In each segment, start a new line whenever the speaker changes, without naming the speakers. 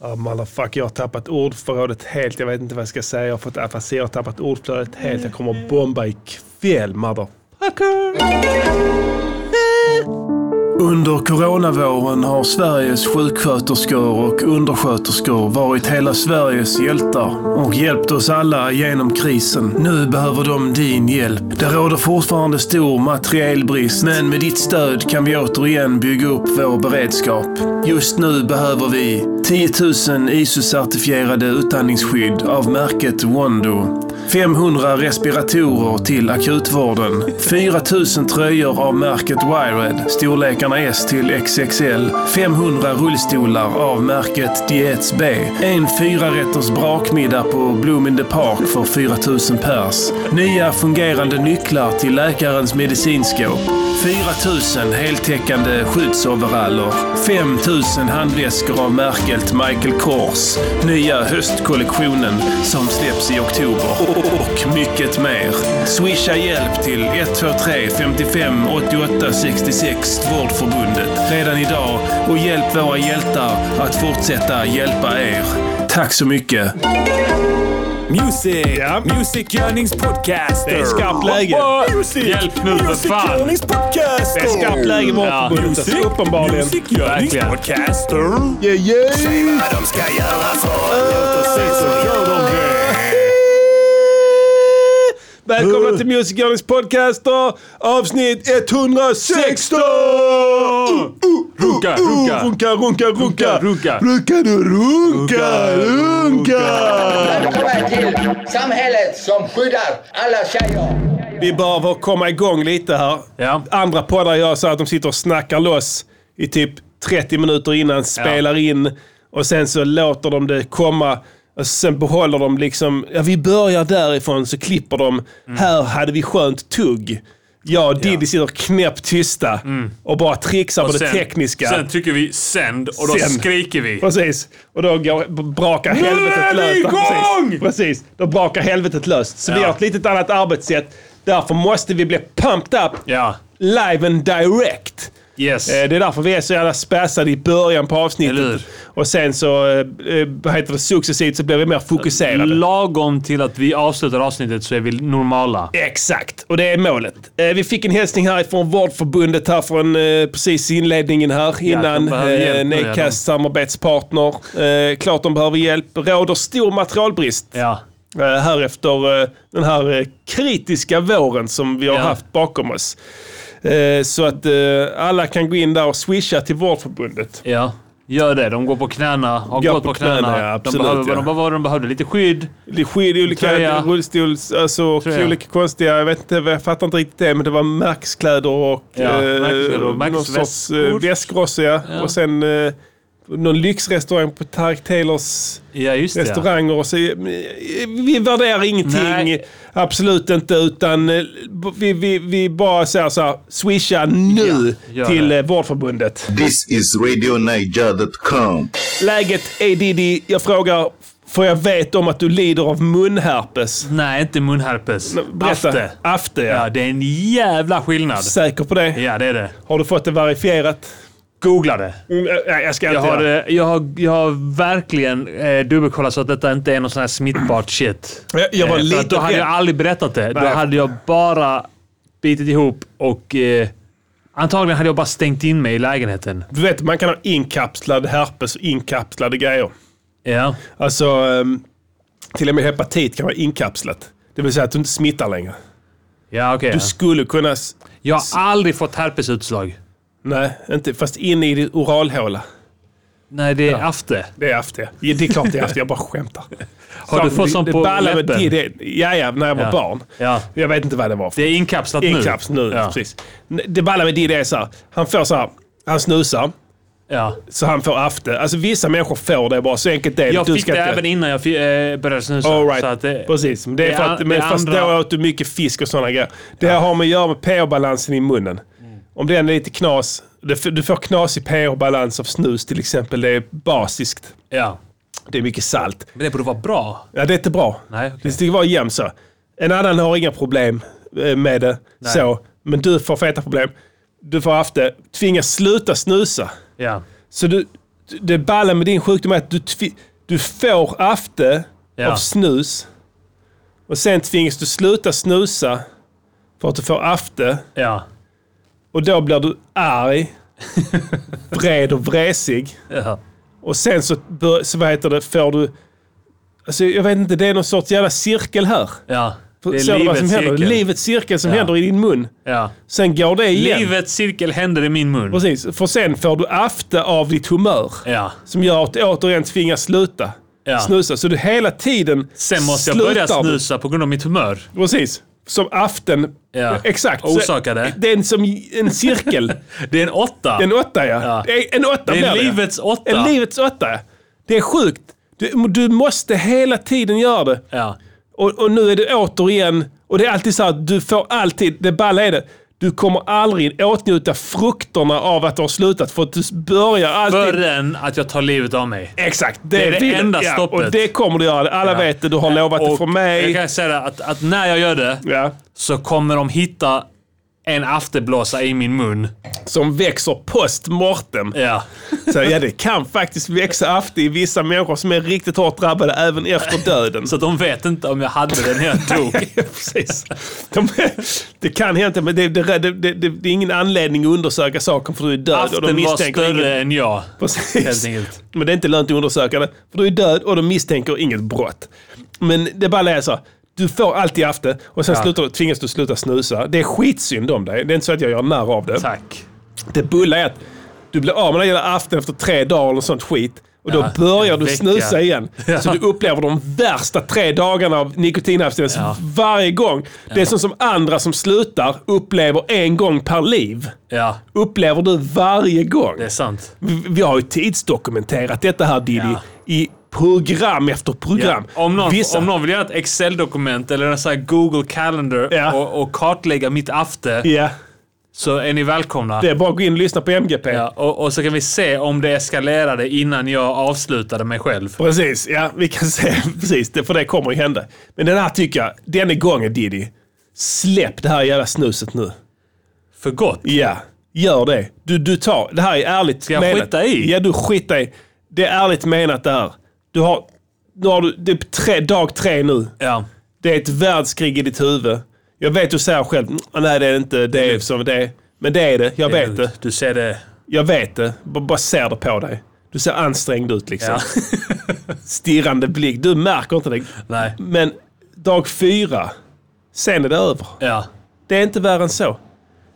Oh, motherfuck, jag har tappat ordförrådet helt. Jag vet inte vad jag ska säga. Jag har fått afasi. Jag har tappat ordflödet helt. Jag kommer bomba ikväll, motherfucker. Under coronavåren har Sveriges sjuksköterskor och undersköterskor varit hela Sveriges hjältar och hjälpt oss alla genom krisen. Nu behöver de din hjälp. Det råder fortfarande stor materielbrist, men med ditt stöd kan vi återigen bygga upp vår beredskap. Just nu behöver vi 10 000 ISO-certifierade utandningsskydd av märket Wondo. 500 respiratorer till akutvården. 4 000 tröjor av märket Wired, storlekarna S till XXL. 500 rullstolar av märket Diets B. En fyrarätters brakmiddag på Bloom in the Park för 4 000 pers. Nya fungerande nycklar till läkarens medicinskåp. 4 000 heltäckande skyddsoberaller. 5 000 handväskor av märket Michael Kors. Nya höstkollektionen som släpps i oktober. Och mycket mer. Swisha hjälp till 123 55 88 66 Vårdförbundet redan idag och hjälp våra hjältar att fortsätta hjälpa er. Tack så mycket!
Music!
Ja.
Music Yearnings Podcaster!
Det är skarpt läge.
Music!
Hjälp nu, för
Music
fan.
Yearnings Podcaster!
Det är skarpt läge i Vårdförbundet, uppenbarligen.
Music Yearnings
Verkligen.
Podcaster!
Yeah, Eh. yeah.
Vad de ska göra för oss, låt oss se så gör de det!
Välkomna till Music Yearnings podcaster avsnitt 116!
Runka, runka.
Uh, Runka, runka, runka!
Runka, runka.
Brukar du runka, runka?
Välkommen till samhället som skyddar alla tjejer.
Vi behöver komma igång lite här.
Ja.
Andra poddar gör så att de sitter och snackar loss i typ 30 minuter innan, spelar in och sen så låter de det komma. Och sen behåller de liksom, ja vi börjar därifrån så klipper de,
Mm.
här hade vi skönt tugg. Jag och Diddy sitter knäpptysta och bara trixar på det tekniska.
Mm. Sen trycker vi sänd och då
Sänd.
skriker vi.
Precis. Och då går, b- brakar
Nu är
helvetet
vi
löst. Ja,
igång!
Precis. Precis. Då brakar helvetet löst. Så vi
Ja.
har ett litet annat arbetssätt. Därför måste vi bli pumped up
Ja.
live and direct.
Yes.
Eh, Det är därför vi är så jävla späsade i början på
Eller
avsnittet.
hur?
Och sen så, eh, eh, vad heter det, successivt så blir vi mer fokuserade.
Lagom till att vi avslutar avsnittet så är vi normala.
Exakt, och det är målet. Eh, vi fick en hälsning här från Vårdförbundet här från eh, precis inledningen här innan.
behöver hjälp
eh,
nu, ja, de.
Nekast samarbetspartner. Eh, klart de behöver hjälp. Råder stor materialbrist
Ja.
eh, här efter eh, den här eh, kritiska våren som vi har
Ja.
haft bakom oss. Eh, så att eh, alla kan gå in där och swisha till Vårdförbundet.
Ja. Gör det. De går på knäna. Har
Går
gått
på
på, knäna.
knäna, ja, absolut,
de behöver
ja.
de, behöver- de behövde. Lite skydd.
Det sker i olika
Tröja.
rullstols... Alltså, och
Tröja.
olika konstiga... Jag vet inte, jag fattar inte riktigt det, men det var märkeskläder och... eh,
Ja, märkeskläder och
någon
märkesväskor.
sorts eh, väskrossor, ja. Och sen eh, någon lyxrestaurang på Tark Taylors
Ja, just det. ja.
restauranger. Och så, eh, vi värderar ingenting.
Nej.
Absolut inte. Utan eh, vi, vi, vi bara säger så här, swisha nu
Ja, gör
till
det.
eh, Vårdförbundet.
This is RadioNiger.com.
Läget är Diddy. Jag frågar, för jag vet om att du lider av munherpes.
Nej, inte munherpes.
Berätta.
Afte.
Afte, ja.
Ja, det är en jävla skillnad.
Säker på det?
Ja, det är det.
Har du fått det verifierat?
Googla det.
Mm, äh, nej, jag ska inte
Jag har,
göra
eh, jag har, jag har verkligen eh, dubbelkollat så att detta inte är någon sån här smittbart shit.
Jag- jag var
Eh, för
lite
att då hade
rädd.
jag aldrig berättat det. Då
Nej.
hade jag bara bitit ihop och eh, antagligen hade jag bara stängt in mig i lägenheten.
Du vet, man kan ha inkapslad herpes och inkapslade grejer.
Ja.
Alltså, ehm, till och med hepatit kan vara inkapslat. Det vill säga att du inte smittar längre.
Ja, okej.
Du skulle kunna... s-
Jag har aldrig fått herpesutslag.
Nej, inte. Fast inne i din oralhåla.
Nej, det är afte.
Det är afte. Ja, det är klart det är afte. Jag bara skämtar.
Har du fått sån på läppen?
läppen? Ja, ja, när jag var
Ja.
barn.
Ja.
Jag vet inte vad det var för
Det är inkapslat nu.
Inkaps nu,
Ja.
precis. Det balla med Diddy är så här. Han får så här. Han snusar.
Ja.
Så han får afte. Alltså vissa människor får det bara. Så enkelt är det.
Jag
Du
fick
ska
det
inte-
även innan jag fi- eh, började snusa.
All right.
Så att eh, det,
Precis. Men det är
det
för
är
att,
an-
men
det är
fast då
andra-
åt du mycket fisk och sådana grejer. Det här har med att göra med pH-balansen i munnen.
Mm.
Om den är lite knas. Du f- du får knasig pH-balans av snus till exempel. Det är basiskt.
Ja.
Det är mycket salt.
Men det borde vara bra.
Ja, det är inte bra.
Nej, okej.
Det ska vara jämnt så. En annan har inga problem eh, med det. Så. Men du får feta problem. Du får haft det. Tvingas sluta snusa.
Ja.
Så du, det balla med din sjukdom är att du, tvi- du får afte
Ja.
av snus. Och sen tvingas du sluta snusa för att du får afte.
Ja.
Och då blir du arg, vred och vresig.
ja.
Och sen så, bör, så vad heter det, får du... Alltså jag vet inte, det är någon sorts jävla cirkel här.
ja. Det
Ser
är
du vad som
livets
händer?
cirkel.
Livets cirkel som
Ja.
händer i din mun.
Ja.
Sen går det igen.
Livets cirkel händer i min mun.
Precis, för sen får du afte av ditt humör.
Ja.
Som gör att du återigen tvingas sluta
Ja.
snusa. Så du hela tiden
Sen måste jag
slutar
börja
du.
snusa på grund av mitt humör.
Precis. Som aften.
Ja.
Exakt.
Orsakar
Så-
det.
Det är en, som en cirkel.
Det är en åtta.
En åtta ja.
Ja.
Det är En åtta
det
blir
är livets åtta.
En livets åtta. Det är sjukt. Du, du måste hela tiden göra det.
ja.
Och, och nu är det återigen, och det är alltid så här, du får alltid, det balla är det, du kommer aldrig åtnjuta frukterna av att du har slutat för att du börjar alltid...
Förrän att jag tar livet av mig.
Exakt.
Det är det
vill-
enda
ja,
stoppet.
Och det kommer du göra. Alla vet det. Du har lovat det
Och
för mig.
Jag kan säga det, att, att när jag gör det
Ja.
så kommer de hitta en afterblåsa i min mun.
Som växer post mortem.
Ja.
Så, ja, det kan faktiskt växa afte i vissa människor som är riktigt hårt drabbade även efter döden.
Så de vet inte om jag hade det när jag dog.
Precis. De, det kan hända, men det, det, det, det, det är ingen anledning att undersöka saken för du är död. och de
Aften var
misstänker
större
Inget,
än jag.
precis.
Helt enkelt.
Men det är inte lönt att undersöka det, för du är död och de misstänker inget brott. Men det bara är så. Du får alltid afte och sen
Ja.
slutar, tvingas du sluta snusa. Det är skitsynd om dig. Det är inte så att jag gör narr av det.
Tack.
Det bulla är att du blir av med den jävla aften efter tre dagar eller sånt skit. Och då
Ja,
börjar
en
du
vecka.
snusa igen.
Ja.
Så du upplever de värsta tre dagarna av nikotinabstinens
Ja.
varje gång. Det är sånt som andra som slutar upplever en gång per liv.
Ja,
Upplever du varje gång.
det är sant.
Vi- Vi har ju tidsdokumenterat detta här Diddy.
Ja.
I program efter
Ja.
program.
Om, någon,
Vissa-
om någon vill göra ett Excel-dokument eller en sån här Google Calendar
Ja.
och, och kartlägga mitt afte
Ja,
så är ni välkomna.
det är bara att gå in och lyssna på MGP.
Ja, och, och så kan vi se om det eskalerade innan jag avslutade mig själv.
Precis, ja vi kan se. Precis, det, för det kommer ju hända. Men den här tycker jag, denna gången Diddy. Släpp det här jävla snuset nu.
För gott.
Ja, gör det. Du, du tar, det här är ärligt
jag skita i?
Ja, du skita i. Det är ärligt menat det här. Du har, nu har du, det är tre, dag tre nu.
Ja.
Det är ett världskrig i ditt huvud. Jag vet du säger själv, "Mm, nej det är det inte det är som det är. Men det är det, jag vet det.
Du ser Mm. det.
Jag vet det. B- bara ser det på dig. Du ser ansträngd ut liksom.
Ja.
Stirrande blick. Du märker inte det.
Nej.
Men dag fyra, sen är det över.
Ja.
Det är inte värre än så.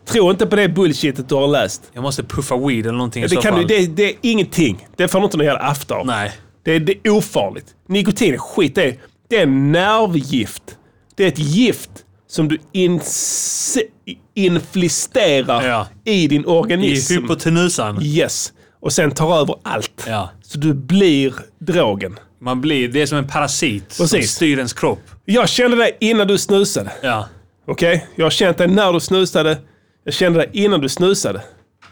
Tro inte på det bullshitet du har läst.
Jag måste puffa weed eller någonting i
Det,
så
kan du,
fall.
det, det är ingenting. Det får du inte någon jävla after av.
Nej.
Det, det är ofarligt. Nikotin är skit. Det är, det är nervgift. Det är ett gift som du ins- inflisterar
Ja.
i din
I
organism.
hypotenusan.
yes. Och sen tar över allt.
Ja.
Så du blir drogen.
Man blir, det är som en parasit som
Precis.
styr ens kropp.
Jag kände dig innan du snusade.
Ja.
Okej? Jag har känt dig när du snusade. Jag kände dig innan du snusade.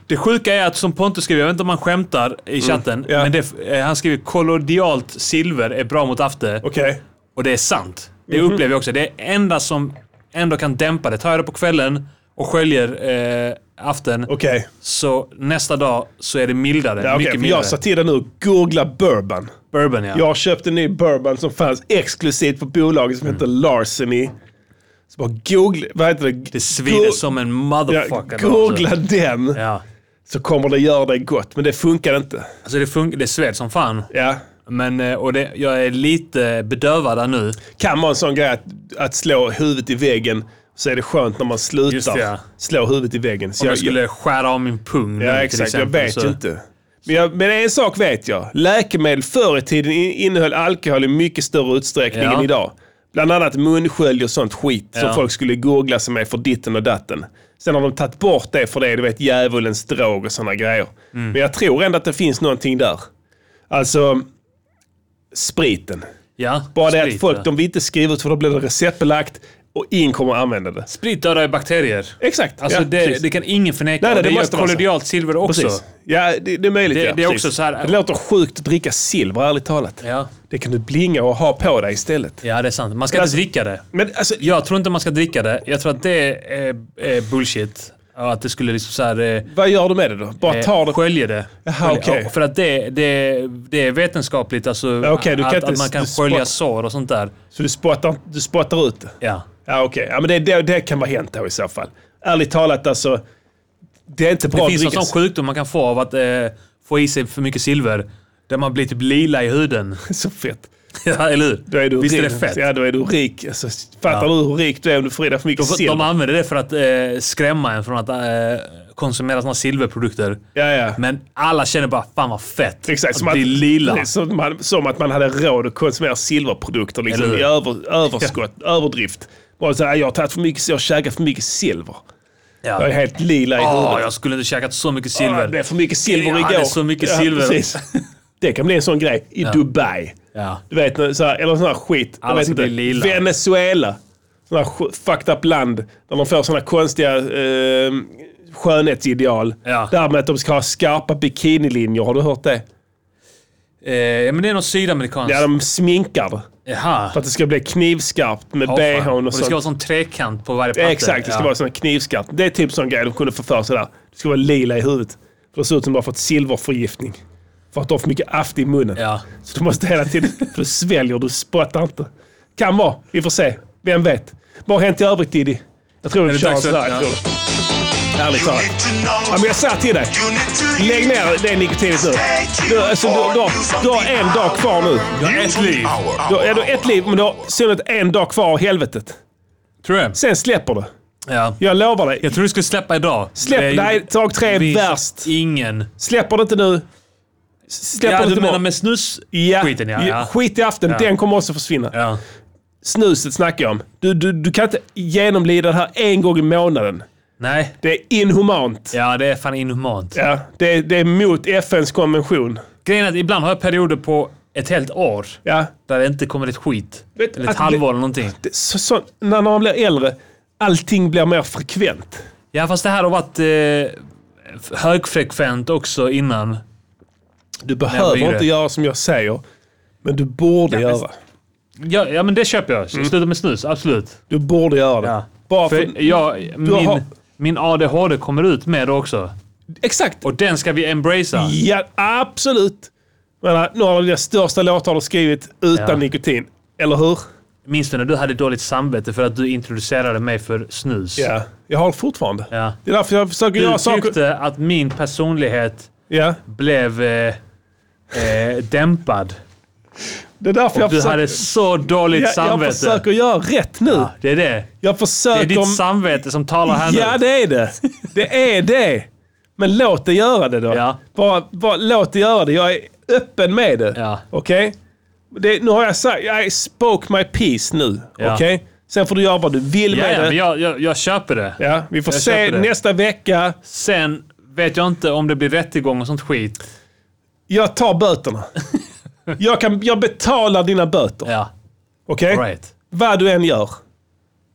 Det sjuka är att som Pontus skriver, jag vet inte om han skämtar i chatten,
Mm. ja.
men det, eh, han skriver kollodialt silver är bra mot afte.
Okej? Mhm.
Och det är sant. Det upplever jag också. Det är enda som ändå kan dämpa det. Tar jag det på kvällen och sköljer eh, aften
Okej.
så nästa dag så är det mildare.
Ja, okej,
mycket
för
mildare.
jag sa till dig nu, googla bourbon.
Bourbon ja.
Jag köpte en ny bourbon som fanns exklusivt på bolaget
Mm.
som hette Larceny. Så bara googla, vad heter det?
Det svider som en
ja,
motherfucker.
Googla den
Ja.
så kommer det göra dig gott. Men det funkar inte.
Alltså det, funkar, det sved som fan.
Ja.
Men, eh, och det, jag är lite bedövad där nu.
Kan vara en sån grej att, att slå huvudet i väggen så är det skönt när man
Just det,
slutar
ja.
slå huvudet i väggen. Så
Om jag skulle skära av min pung nu,
Ja,
till
exakt. Jag
exempel,
vet
så-
inte. Men, jag, men en sak vet jag. Läkemedel förr i tiden in- innehöll alkohol i mycket större utsträckning
Ja.
än idag. Bland annat munskölj och sånt skit
Ja.
som folk skulle googla sig med för ditten och datten. Sen har de tagit bort det för det är du vet, djävulens drog och sådana grejer.
Mm.
Men jag tror ändå att det finns någonting där. Alltså, spriten.
Ja,
Bara det
sprit,
att folk,
ja.
de vill inte skriva ut för då blir det receptbelagt och ingen kommer att använda det.
Sprit dödar ju bakterier.
Exakt.
Alltså
ja,
det,
precis.
det kan ingen förneka.
Nej, nej,
Och det
det
gör
måste vara så.
kollodialt silver också.
Precis. Ja, det, det är möjligt.
Det-
ja,
det är
precis.
också så här-
det låter sjukt att dricka silver, ärligt talat.
Ja.
Det kan du blinga och ha på dig istället.
ja, det är sant. Man ska inte dricka det.
Men alltså,
Jag tror inte man ska dricka det. Jag tror att det är, är bullshit. Ja, att det skulle liksom så här, eh,
Vad gör du med det då? Bara tar
eh,
det...
sköljer det.
Jaha,
Sköljer-
okej.
Ja, För att det, det, det är vetenskapligt, alltså,
okej, du kan
att,
inte
att man kan
s- spå-
skölja sår och sånt där.
Så du spottar, du spottar ut det?
Ja.
Ja, okej. Ja, men det, det, det kan vara hänt då i så fall. Ärligt talat alltså. Det är inte
Det
bra
finns en
dricka-
sån sjukdom man kan få av att eh, få i sig för mycket silver. Där man blir typ lila i huden.
så fett.
ja, eller hur?
Då är du
Visst är
rik.
det fett?
Ja, då är du rik. Alltså, fattar
Ja.
du hur rik du är om du får i dig för mycket
De,
silver?
de använder det för att eh, skrämma en från att eh, konsumera såna silverprodukter.
Ja, ja.
Men alla känner bara, fan vad fett.
Exakt,
att bli lila.
det är som, man, som att man hade råd att konsumera silverprodukter liksom,
Eller
i
hur?
över, överskott, överdrift. Bara så här, jag har tagit för mycket, så jag har käkat för mycket silver.
Ja.
Jag är helt lila i
Åh,
huvudet.
jag skulle inte käkat så mycket silver.
Ah, Det är för mycket silver
Ja,
igår.
det är så mycket silver.
Det kan bli en sån grej i Dubai.
Ja.
Du vet, när- så här, eller sån här skit. Jag
Alla
vet
ska
inte.
bli lila.
Venezuela. Sån här sj- fucked up land. Där de får såna konstiga eh, skönhetsideal.
Ja.
Där med att de ska ha skarpa bikinilinjer. Har du hört det?
Eh, men det är något sydamerikanskt.
Ja, de sminkar det.
Jaha.
För att det ska bli knivskarpt med
Ja, fan.
bhn och,
och det
sånt.
ska vara sån trekant på varje papper.
Exakt, det ska
ja.
vara sån här knivskarpt. Det är typ sån grej de kunde få för sig där. Det ska vara lila i huvudet. För det ser ut som de har fått silverförgiftning. För att de har för mycket aft i munnen.
Ja.
Så du måste hela tiden... För du sväljer, du spottar inte. Kan vara. Vi får se. Vem vet? Vad har hänt i övrigt Diddy? Jag tror vi
det
kör en
dags
sån
att-
här. jag
ja.
tror det. Ärligt talat. Ja, men jag säger till dig. Lägg ner det nikotinet nu. Du, alltså, du, du, har, du har en dag kvar nu.
Du har ett liv.
Du, ja, du har ett liv, men du har synnerhet en dag kvar i helvetet.
Tror du det?
Sen släpper det.
Ja.
Jag lovar dig.
Jag tror du skulle släppa idag.
Släpp,
Det är ju-
nej, dag tre är
vi-
värst.
Ingen.
Släpper det inte nu, släpper
Ja,
det
du
inte
menar
imorgon.
med snus?
Ja,
skiten, ja, ja.
Skit i aften, den kommer också försvinna.
Ja.
Snuset snackar jag om. Du, du, du kan inte genomlida det här en gång i månaden.
Nej.
Det är inhumant.
Ja, det är fan inhumant.
Ja, det, är- det är mot FNs konvention.
Grejen är att ibland har jag perioder på ett helt år
Ja,
där det inte kommer ett skit.
Vet-
eller ett
att-
halvår eller någonting.
det, så, så, när man blir äldre, allting blir mer frekvent.
Ja, fast det här har varit eh, f- högfrekvent också innan.
Du behöver
blir
inte
det.
göra som jag säger, men du borde
Ja, men-
göra.
Ja, ja men det köper jag. Sluta med snus, absolut.
Du borde göra det.
Mm. Ja.
Bara för,
För jag, min,
har-
min ADHD kommer ut med det också.
exakt.
Och den ska vi embracea.
Ja, absolut. Men, äh, några av dina största låtar har du skrivit utan
Ja.
nikotin. Eller hur?
Minns du när du hade dåligt samvete för att du introducerade mig för snus?
Ja. Jag har det fortfarande.
Ja.
Det är därför jag försöker
Du
göra saker...
tyckte att min personlighet
Ja.
blev eh, eh, dämpad.
Det är därför jag
Du
försöker...
hade så dåligt
jag, jag
samvete.
försöker göra rätt nu.
Ja, det är det.
Jag
Det är
försöker...
ditt samvete som talar här
ja,
nu.
det är det. Det är det. Men låt det göra det då.
Ja.
Bara, bara låt det göra det. Jag är öppen med det.
Ja.
Okej? Det- Nu har jag sagt... I spoke my piece nu.
Ja.
Okej? Sen får du göra vad du vill
Ja,
med
ja,
det.
men jag, jag, jag köper det.
Ja, vi får
Jag
se
köper det.
nästa vecka.
Sen vet jag inte om det blir rättegång och sånt skit.
Jag tar böterna. jag, kan, jag betalar dina böter.
Ja,
Okej?
right.
Vad du än gör.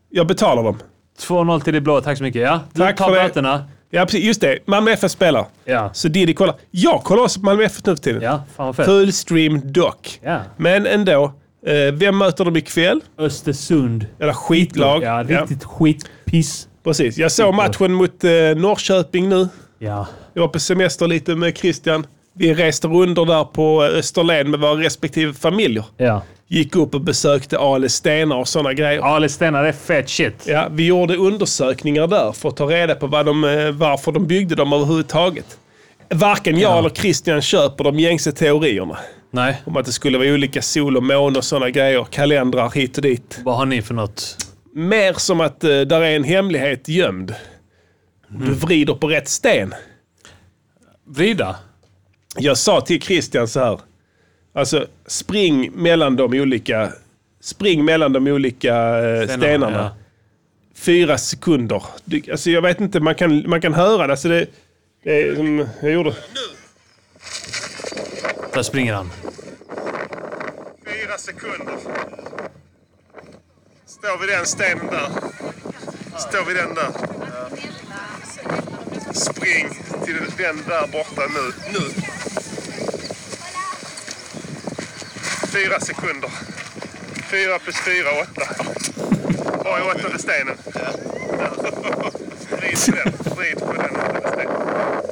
Jag betalar dem.
2-0 till det blå, tack så mycket. Ja, du
Tack
tar
för det.
böterna.
Ja, precis. Just det. Malmö FF spelar.
Ja.
Så Diddy kollar. Jag kollar också på Malmö FF nu för tiden.
ja, fan vad fett.
Full stream dock.
Ja.
Men ändå. Eh, vem möter de ikväll?
Östersund.
Eller skitlag.
Ja, riktigt skitpiss.
precis. Jag såg matchen mot eh, Norrköping nu.
Ja.
Jag var på semester lite med Christian. Vi reste runder där på eh, Österlen med våra respektive familjer.
ja.
Gick upp och besökte Ale Stenar och sådana grejer.
Ale Stenar är fett shit.
Ja, vi gjorde undersökningar där för att ta reda på vad de, eh, varför de byggde dem överhuvudtaget. Varken jag eller Christian köper de gängse teorierna.
Nej,
Om att det skulle vara olika sol och måne och sådana grejer, kalendrar hit och dit.
vad har ni för något?
Mer som att eh, där är en hemlighet gömd. Du vrider på rätt sten.
Vrida?
Jag sa till Christian så här. Alltså, spring mellan de olika, spring mellan de olika eh, stenarna.
Ja.
fyra sekunder. Du, alltså jag vet inte, man kan, man kan höra det. Alltså det, det är som jag gjorde.
Där springer han.
Fyra sekunder. Står vid den stenen där. Står vid den där. Spring till den där borta nu. Nu. Fyra sekunder. Fyra plus fyra, åtta. Var är åttonde stenen? Vrid på den.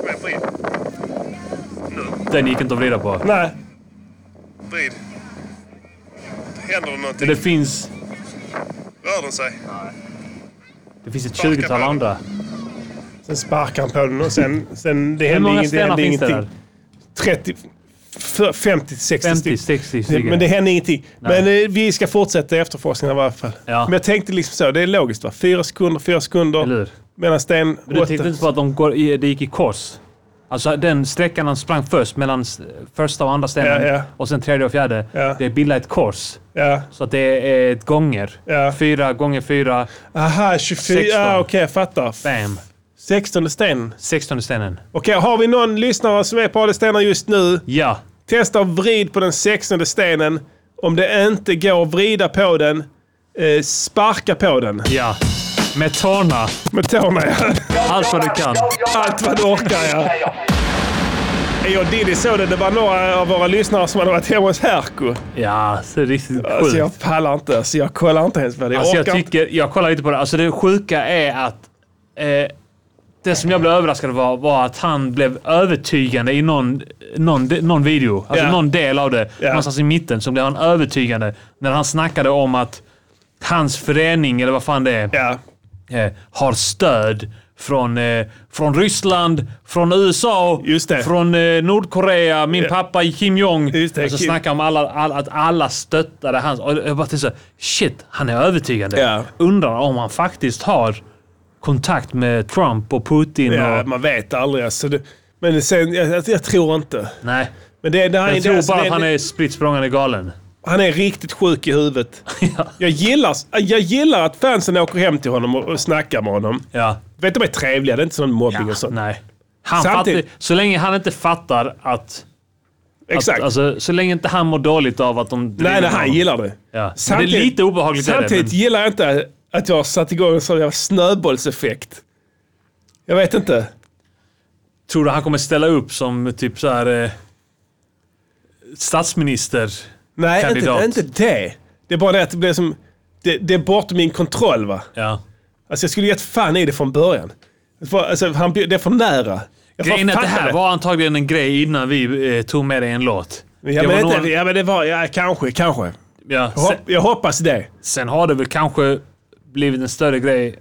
Vrid på den. Kom igen, vrid. Nu.
Den gick inte att vrida på.
Nej.
Vrid. Händer det någonting?
Men det finns...
Rör den sig?
Det finns ett 20-tal andra.
Sen sparkar han på den och sen... sen det
Hur
hände
många
ingenting. Det
stenar
hände
finns det
ingenting.
där?
30, för- 50, 60
50,
stycken.
60
Det-
stycken.
Men det hände ingenting. Men eh, vi ska fortsätta efterforskningen i varje fall.
Ja.
Men jag tänkte liksom så, det är logiskt va? Fyra sekunder, fyra
Eller
sekunder.
hur?
Mellan sten...
Men du tänkte inte på att de går i, det gick i kors? Alltså den sträckan han sprang först, mellan s- första och andra stenen
Ja, ja.
och sen tredje och fjärde.
Ja.
Det bildar ett kors.
Ja.
Så att det är ett gånger.
Ja.
Fyra gånger fyra.
Aha, 24...
Sexton.
Ja, okej, jag fattar.
Bam!
16 sten.
16 stenen.
Okej, har vi någon lyssnare som är på alla stenar just nu?
Ja.
Testa att vrid på den 16 stenen. Om det inte går att vrida på den, eh, sparka på den.
Ja. Med tårna.
Med tårna, ja.
Allt vad du kan.
Allt vad du orkar, ja. Jag och Diddy såg det. Det var några av våra lyssnare som hade varit hemma hos Herko.
Ja, så riktigt
Alltså
sjukt.
jag pallar inte. Alltså jag kollar inte ens vad det är.
Alltså jag
orkar inte.
tycker, jag kollar lite på det. Alltså det sjuka är att eh, det som jag blev överraskad av var, var att han blev övertygande i någon, någon, de- någon video. Alltså
Ja.
någon del av det.
Ja.
Någonstans i mitten så blev han övertygande när han snackade om att hans förening, eller vad fan det är,
Ja.
eh, har stöd från, eh, från Ryssland, från USA,
Just det.
från eh, Nordkorea, min
Ja.
pappa Kim Jong.
Just det,
alltså
Kim.
snackar om alla, all, att alla stöttade hans... Och jag bara tänkte så här, shit, han är övertygande.
Ja.
Undrar om han faktiskt har kontakt med Trump och Putin
ja,
och...
man vet aldrig. Alltså det, men sen, jag, jag, jag tror inte.
Nej.
Men det, det, här-
Jag
det,
tror
alltså,
bara
det,
att han
det-
är spritt språngande galen.
Han är riktigt sjuk i huvudet. jag, gillar, jag gillar att fansen åker hem till honom och, och snackar med honom.
Ja.
Vet de är trevliga, det är inte sån mobbing och sånt.
Nej. Han
Samtidigt-
fattar, så länge han inte fattar att...
Exakt.
att alltså, så länge inte han mår dåligt av att de...
nej,
driver
nej,
med
han
honom.
gillar det.
Ja. Men det är lite obehagligt.
Samtidigt
Samtidigt... Är det,
gillar jag inte att jag har satt igång en sån jävla snöbollseffekt. Jag vet inte.
men tror du han kommer ställa upp som typ så här eh, statsminister?
Nej, inte,
Kandidat.
inte det. Det är bara det att det blir som... Det, det är bortom min kontroll va.
Ja.
Alltså jag skulle gett fan i det från början. Det var- Alltså, han, bjud- det är för nära. Jag
Grejen är att det
fattar
här var antagligen en grej innan vi eh, tog med dig en låt.
Ja men,
Det var
inte,
någon-
ja men det var... Ja, kanske, kanske.
ja,
Jag,
sen,
hop, jag hoppas det.
sen har det väl kanske blivit en större grej.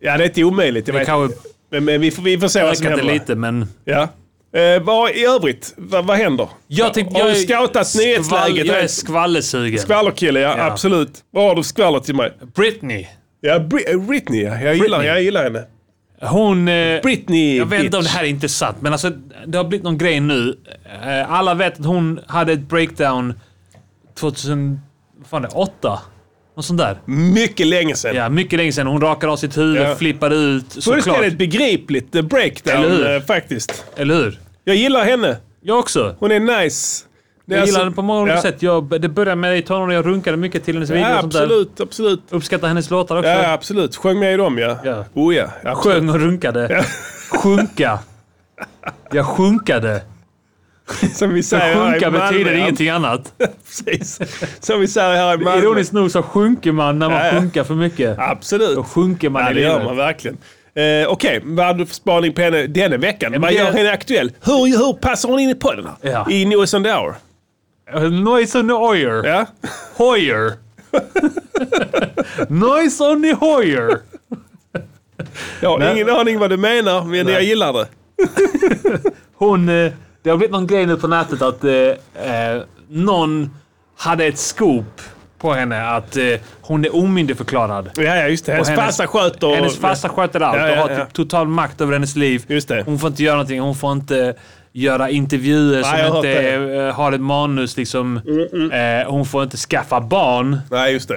Ja, det är inte omöjligt. Jag
Det
vet.
kanske
Men, men vi, får, vi får se vad som
ökat det
händer.
lite, men...
Ja. Eh, vad i övrigt? Vad, vad händer?
Jag tänkte,
har
jag
du
är
scoutat
skvall-
nyhetsläget?
Jag är skvallersugen.
Skvallerkille, ja,
Ja.
absolut. Vad har du skvallrat till mig?
Britney.
Ja, Bri- eh, Britney, ja. Jag gillar,
Britney.
jag gillar henne.
Hon... Eh,
Britney,
Jag vet inte om det
bitch.
här är inte sant, men alltså, det har blivit någon grej nu. Eh, Alla vet att hon hade ett breakdown 2000... Vad fan är det? 8? Något sånt där.
Mycket länge sedan.
Ja, mycket länge sedan. Hon rakade av sitt huvud,
Mm. Ja.
flippade ut. Såklart.
Fullständigt begripligt eh,
Eller
breakdown
hur?
eh, faktiskt.
Eller hur?
Jag gillar henne.
Jag också.
Hon är nice. Det är
Jag gillar
alltså-
henne på många olika
ja.
sätt. Jag, det började med i tonåren, jag runkade mycket till hennes videor
Ja,
och sånt där.
absolut, absolut.
Uppskattar hennes låtar också.
Ja, absolut. Sjöng med i dem, ja.
Ja.
Oh ja. absolut.
Sjöng och runkade. Sjunka. Jag sjunkade.
Som vi säger här i
Sjunka
Malmö,
betyder
ja.
ingenting annat.
Precis. Som vi säger här i Malmö.
Ironiskt nog så sjunker man när man
Ja, ja.
sjunkar för mycket.
Absolut.
Då sjunker man
Ja,
i
det gör
livet.
man verkligen. Eh, Okej, vad hade du för spaning på henne denna veckan?
men
Vad
det-
gör henne aktuell? Hur, hur passar hon in i podden här?
Ja.
I News on the Hour?
Noise on the Hoyer.
Ja.
Hoyer. Noise on the Hoyer.
Jag har ingen aning vad du menar, men jag gillar det.
Hon... eh, Det har blivit någon grej nu på nätet att eh, eh, någon hade ett scoop på henne att eh, hon är omyndigförklarad.
Ja, ja just det. Hennes,
hennes-
farsa sköter...
Hennes farsa sköter allt
Ja, ja,
och har
ja.
typ total makt över hennes liv.
Just det.
Hon får inte göra någonting. Hon får inte göra intervjuer
jag Mm, har
som inte
hört
eh, har ett manus. Liksom. Eh, hon får inte skaffa barn.
Nej, just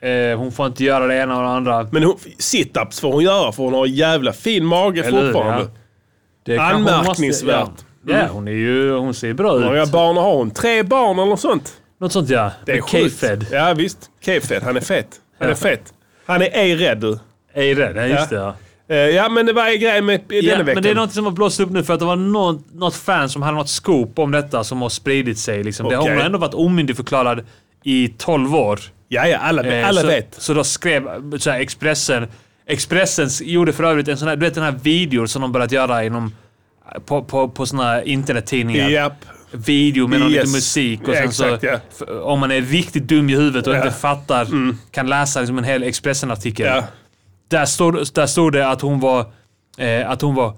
det.
Eh, hon får inte göra det ena och det andra.
Men hon- sit-ups får hon göra, för hon har en jävla fin mage
Eller hur?
fortfarande.
Ja. Det kanske hon måste-
Anmärkningsvärt.
Ja. Ja, hon, är ju, hon ser bra
Hur
ut.
många barn har hon? Tre barn eller något sånt?
Något sånt ja.
Det är
Men K-fed.
sjukt. Ja, visst. K-fed. Han är fet. Han är fet. Han är ej rädd du.
Är det? Nej, just det ja.
Eh, Ja, men det var en grej med i
Ja,
denna veckan.
men det är något som har blåst upp nu för att det var någon, något fan som hade något scoop om detta som har spridit sig. Liksom. Det har
Okej.
hon har ändå varit omyndigförklarad i 12 år.
Ja, ja, alla,
Eh,
alla
så,
vet.
Så då skrev så här, Expressen Expressen gjorde för övrigt en sån här, du vet den här videor som de börjat göra inom, på, på, på såna här internettidningar.
Japp.
Video med någon
Yes.
lite musik och
Ja,
sen så,
exakt, ja.
f- om man är riktigt dum i huvudet och
Ja. Mm.
inte fattar, kan läsa liksom en hel Expressen-artikel.
Ja.
Där, stod, där stod det att hon var, eh, att hon var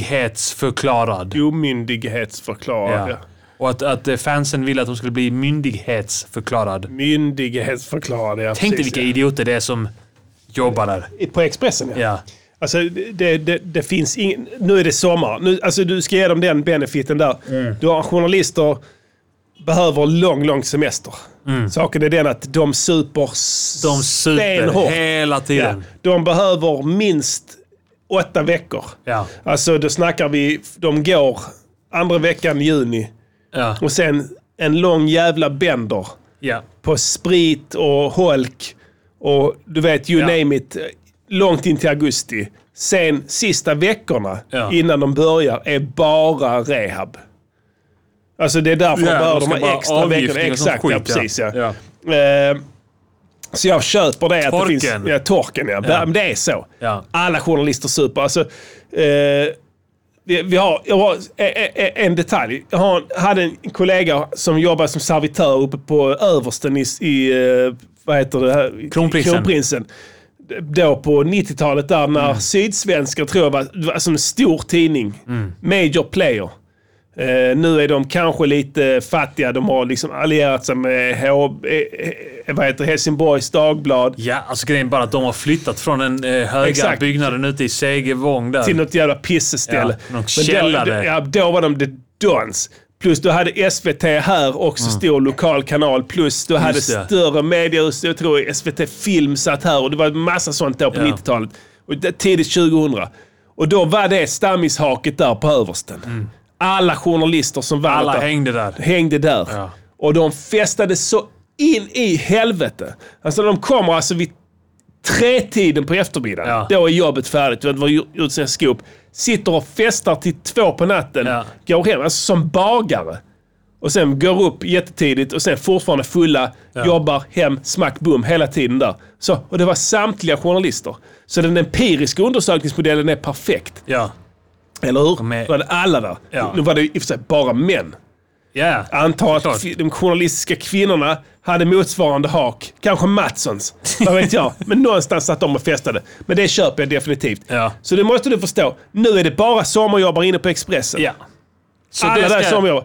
omyndighetsförklarad.
Omyndighetsförklarad.
Ja.
Ja.
Och att, att eh, fansen ville att hon skulle bli myndighetsförklarad.
Myndighetsförklarad, ja.
Tänk dig
Mm. precis,
vilka idioter det är som jobbar där.
ja. På Expressen, ja.
Ja.
Alltså, det, det, det finns ingen... Nu är det sommar. Nu, alltså, du ska ge dem den benefiten där.
Mm.
Du har journalister behöver lång, lång semester. Saken är den att de super s-
Mm. De super
stenhårt.
hela
Ja,
tiden.
de behöver minst åtta veckor.
Ja.
Alltså, då snackar vi... De går andra veckan i juni
Ja.
och sen en lång jävla bänder
ja.
på sprit och holk och du vet, you
Ja.
name it. Långt in till augusti. Sen sista veckorna
Ja.
innan de börjar är bara rehab. Alltså det är därför
Ja,
de behöver
de
de
ska
här
bara
extra veckorna.
avgiftning och sånt
Exakt, ja,
skit, ja.
precis ja. Eh, så jag köper det. Att det
Torken.
finns, ja, torken ja. ja. Men det är så.
Ja.
Alla journalister super. Alltså, eh, vi, vi har, jag har eh, eh, en detalj. Jag har, hade en kollega som jobbade som servitör uppe på översten i, i eh, vad heter det? här?
Kronprinsen.
Kronprinsen. Då på 90-talet där när Sydsvenska tror jag var, var som en stor tidning. Major player. Eh, nu är de kanske lite fattiga. De har liksom allierat sig med H, eh, vad heter det? Helsingborgs Dagblad.
Ja, alltså grejen är bara att de har flyttat från den eh, höga
Exakt.
byggnaden ute i Segevång där.
till något jävla pisseställe.
Ja, någon
då-
källare.
ja, då var de the dons. Plus du hade SVT här, också stor lokal kanal. Plus du hade
Mm. det.
större mediehus. Jag tror SVT Film satt här och det var massa sånt då på
Ja.
90-talet. Och det- tidigt 2000. Och då var det stammishaket där på översten. Alla journalister som var
Mm. Alla
där
hängde där.
hängde där.
Ja.
Och de festade så in i helvete. Alltså de kommer alltså vid tre-tiden på eftermiddagen.
Ja.
Då är jobbet färdigt. De har gjort- gjort sin skop. Sitter och festar till två på natten.
Ja.
Går hem, alltså som bagare. Och sen går upp jättetidigt och sen fortfarande fulla. Jobbar hem, smack, bum hela tiden där. Så, och det var samtliga journalister. Så den empiriska undersökningsmodellen är perfekt.
Ja.
Eller hur?
De är-
Då var det alla där.
Ja.
Nu var det i och för sig bara män.
Ja.
Antar att
Såklart.
kvi- de journalistiska kvinnorna hade motsvarande hak. Kanske Mattssons. Vad vet jag. Men någonstans satt de och festade. Men det köper jag definitivt.
Ja.
Så det måste du förstå. Nu är det bara sommarjobbare inne på Expressen.
ja. Så
Alla
det
där
ska,
sommarjobbare.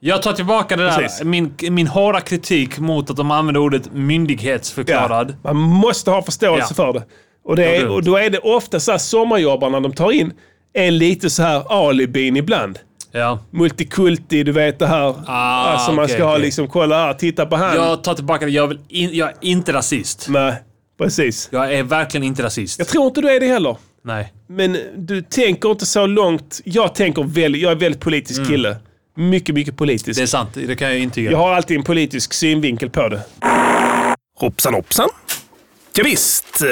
jag tar tillbaka det
Precis.
där. Min, min hårda kritik mot att de använder ordet myndighetsförklarad.
Man måste ha förståelse
Ja.
för det. Och, det är,
dumt.
och då är det ofta så här sommarjobbarna de tar in är lite så här alibin ibland.
Ja.
Multikulti, du vet det här.
Ah,
alltså man
okej,
ska ha
okej.
liksom, kolla här, titta på han.
Jag tar tillbaka det. Jag, vill in, jag är inte rasist.
Nej, precis.
Jag är verkligen inte rasist.
Jag tror inte du är det heller.
Nej.
Men du tänker inte så långt. Jag tänker väldigt, jag är väldigt politisk kille. Mycket, mycket politisk.
Mm. Det är sant. Det kan jag intyga.
Jag har alltid en politisk synvinkel på det.
Hoppsan hoppsan. Ja, visst, eh,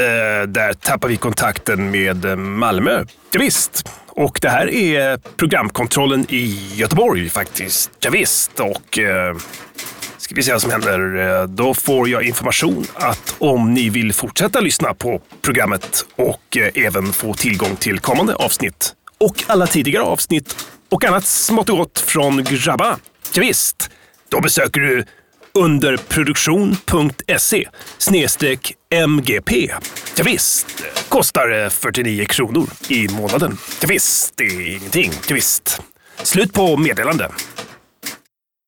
där tappar vi kontakten med eh, Malmö. Ja, visst. Och det här är programkontrollen i Göteborg faktiskt. Ja, visst. och eh, ska vi se vad som händer. Eh, Då får jag information att om ni vill fortsätta lyssna på programmet och eh, även få tillgång till kommande avsnitt och alla tidigare avsnitt och annat smått och gott från grabbarna. Ja, visst. då besöker du underproduktion.se E snedstreck MGP. Ja, visst. kostar eh, 49 kronor i månaden. Ja, visst. det är ingenting. Ja, visst. Slut på meddelande.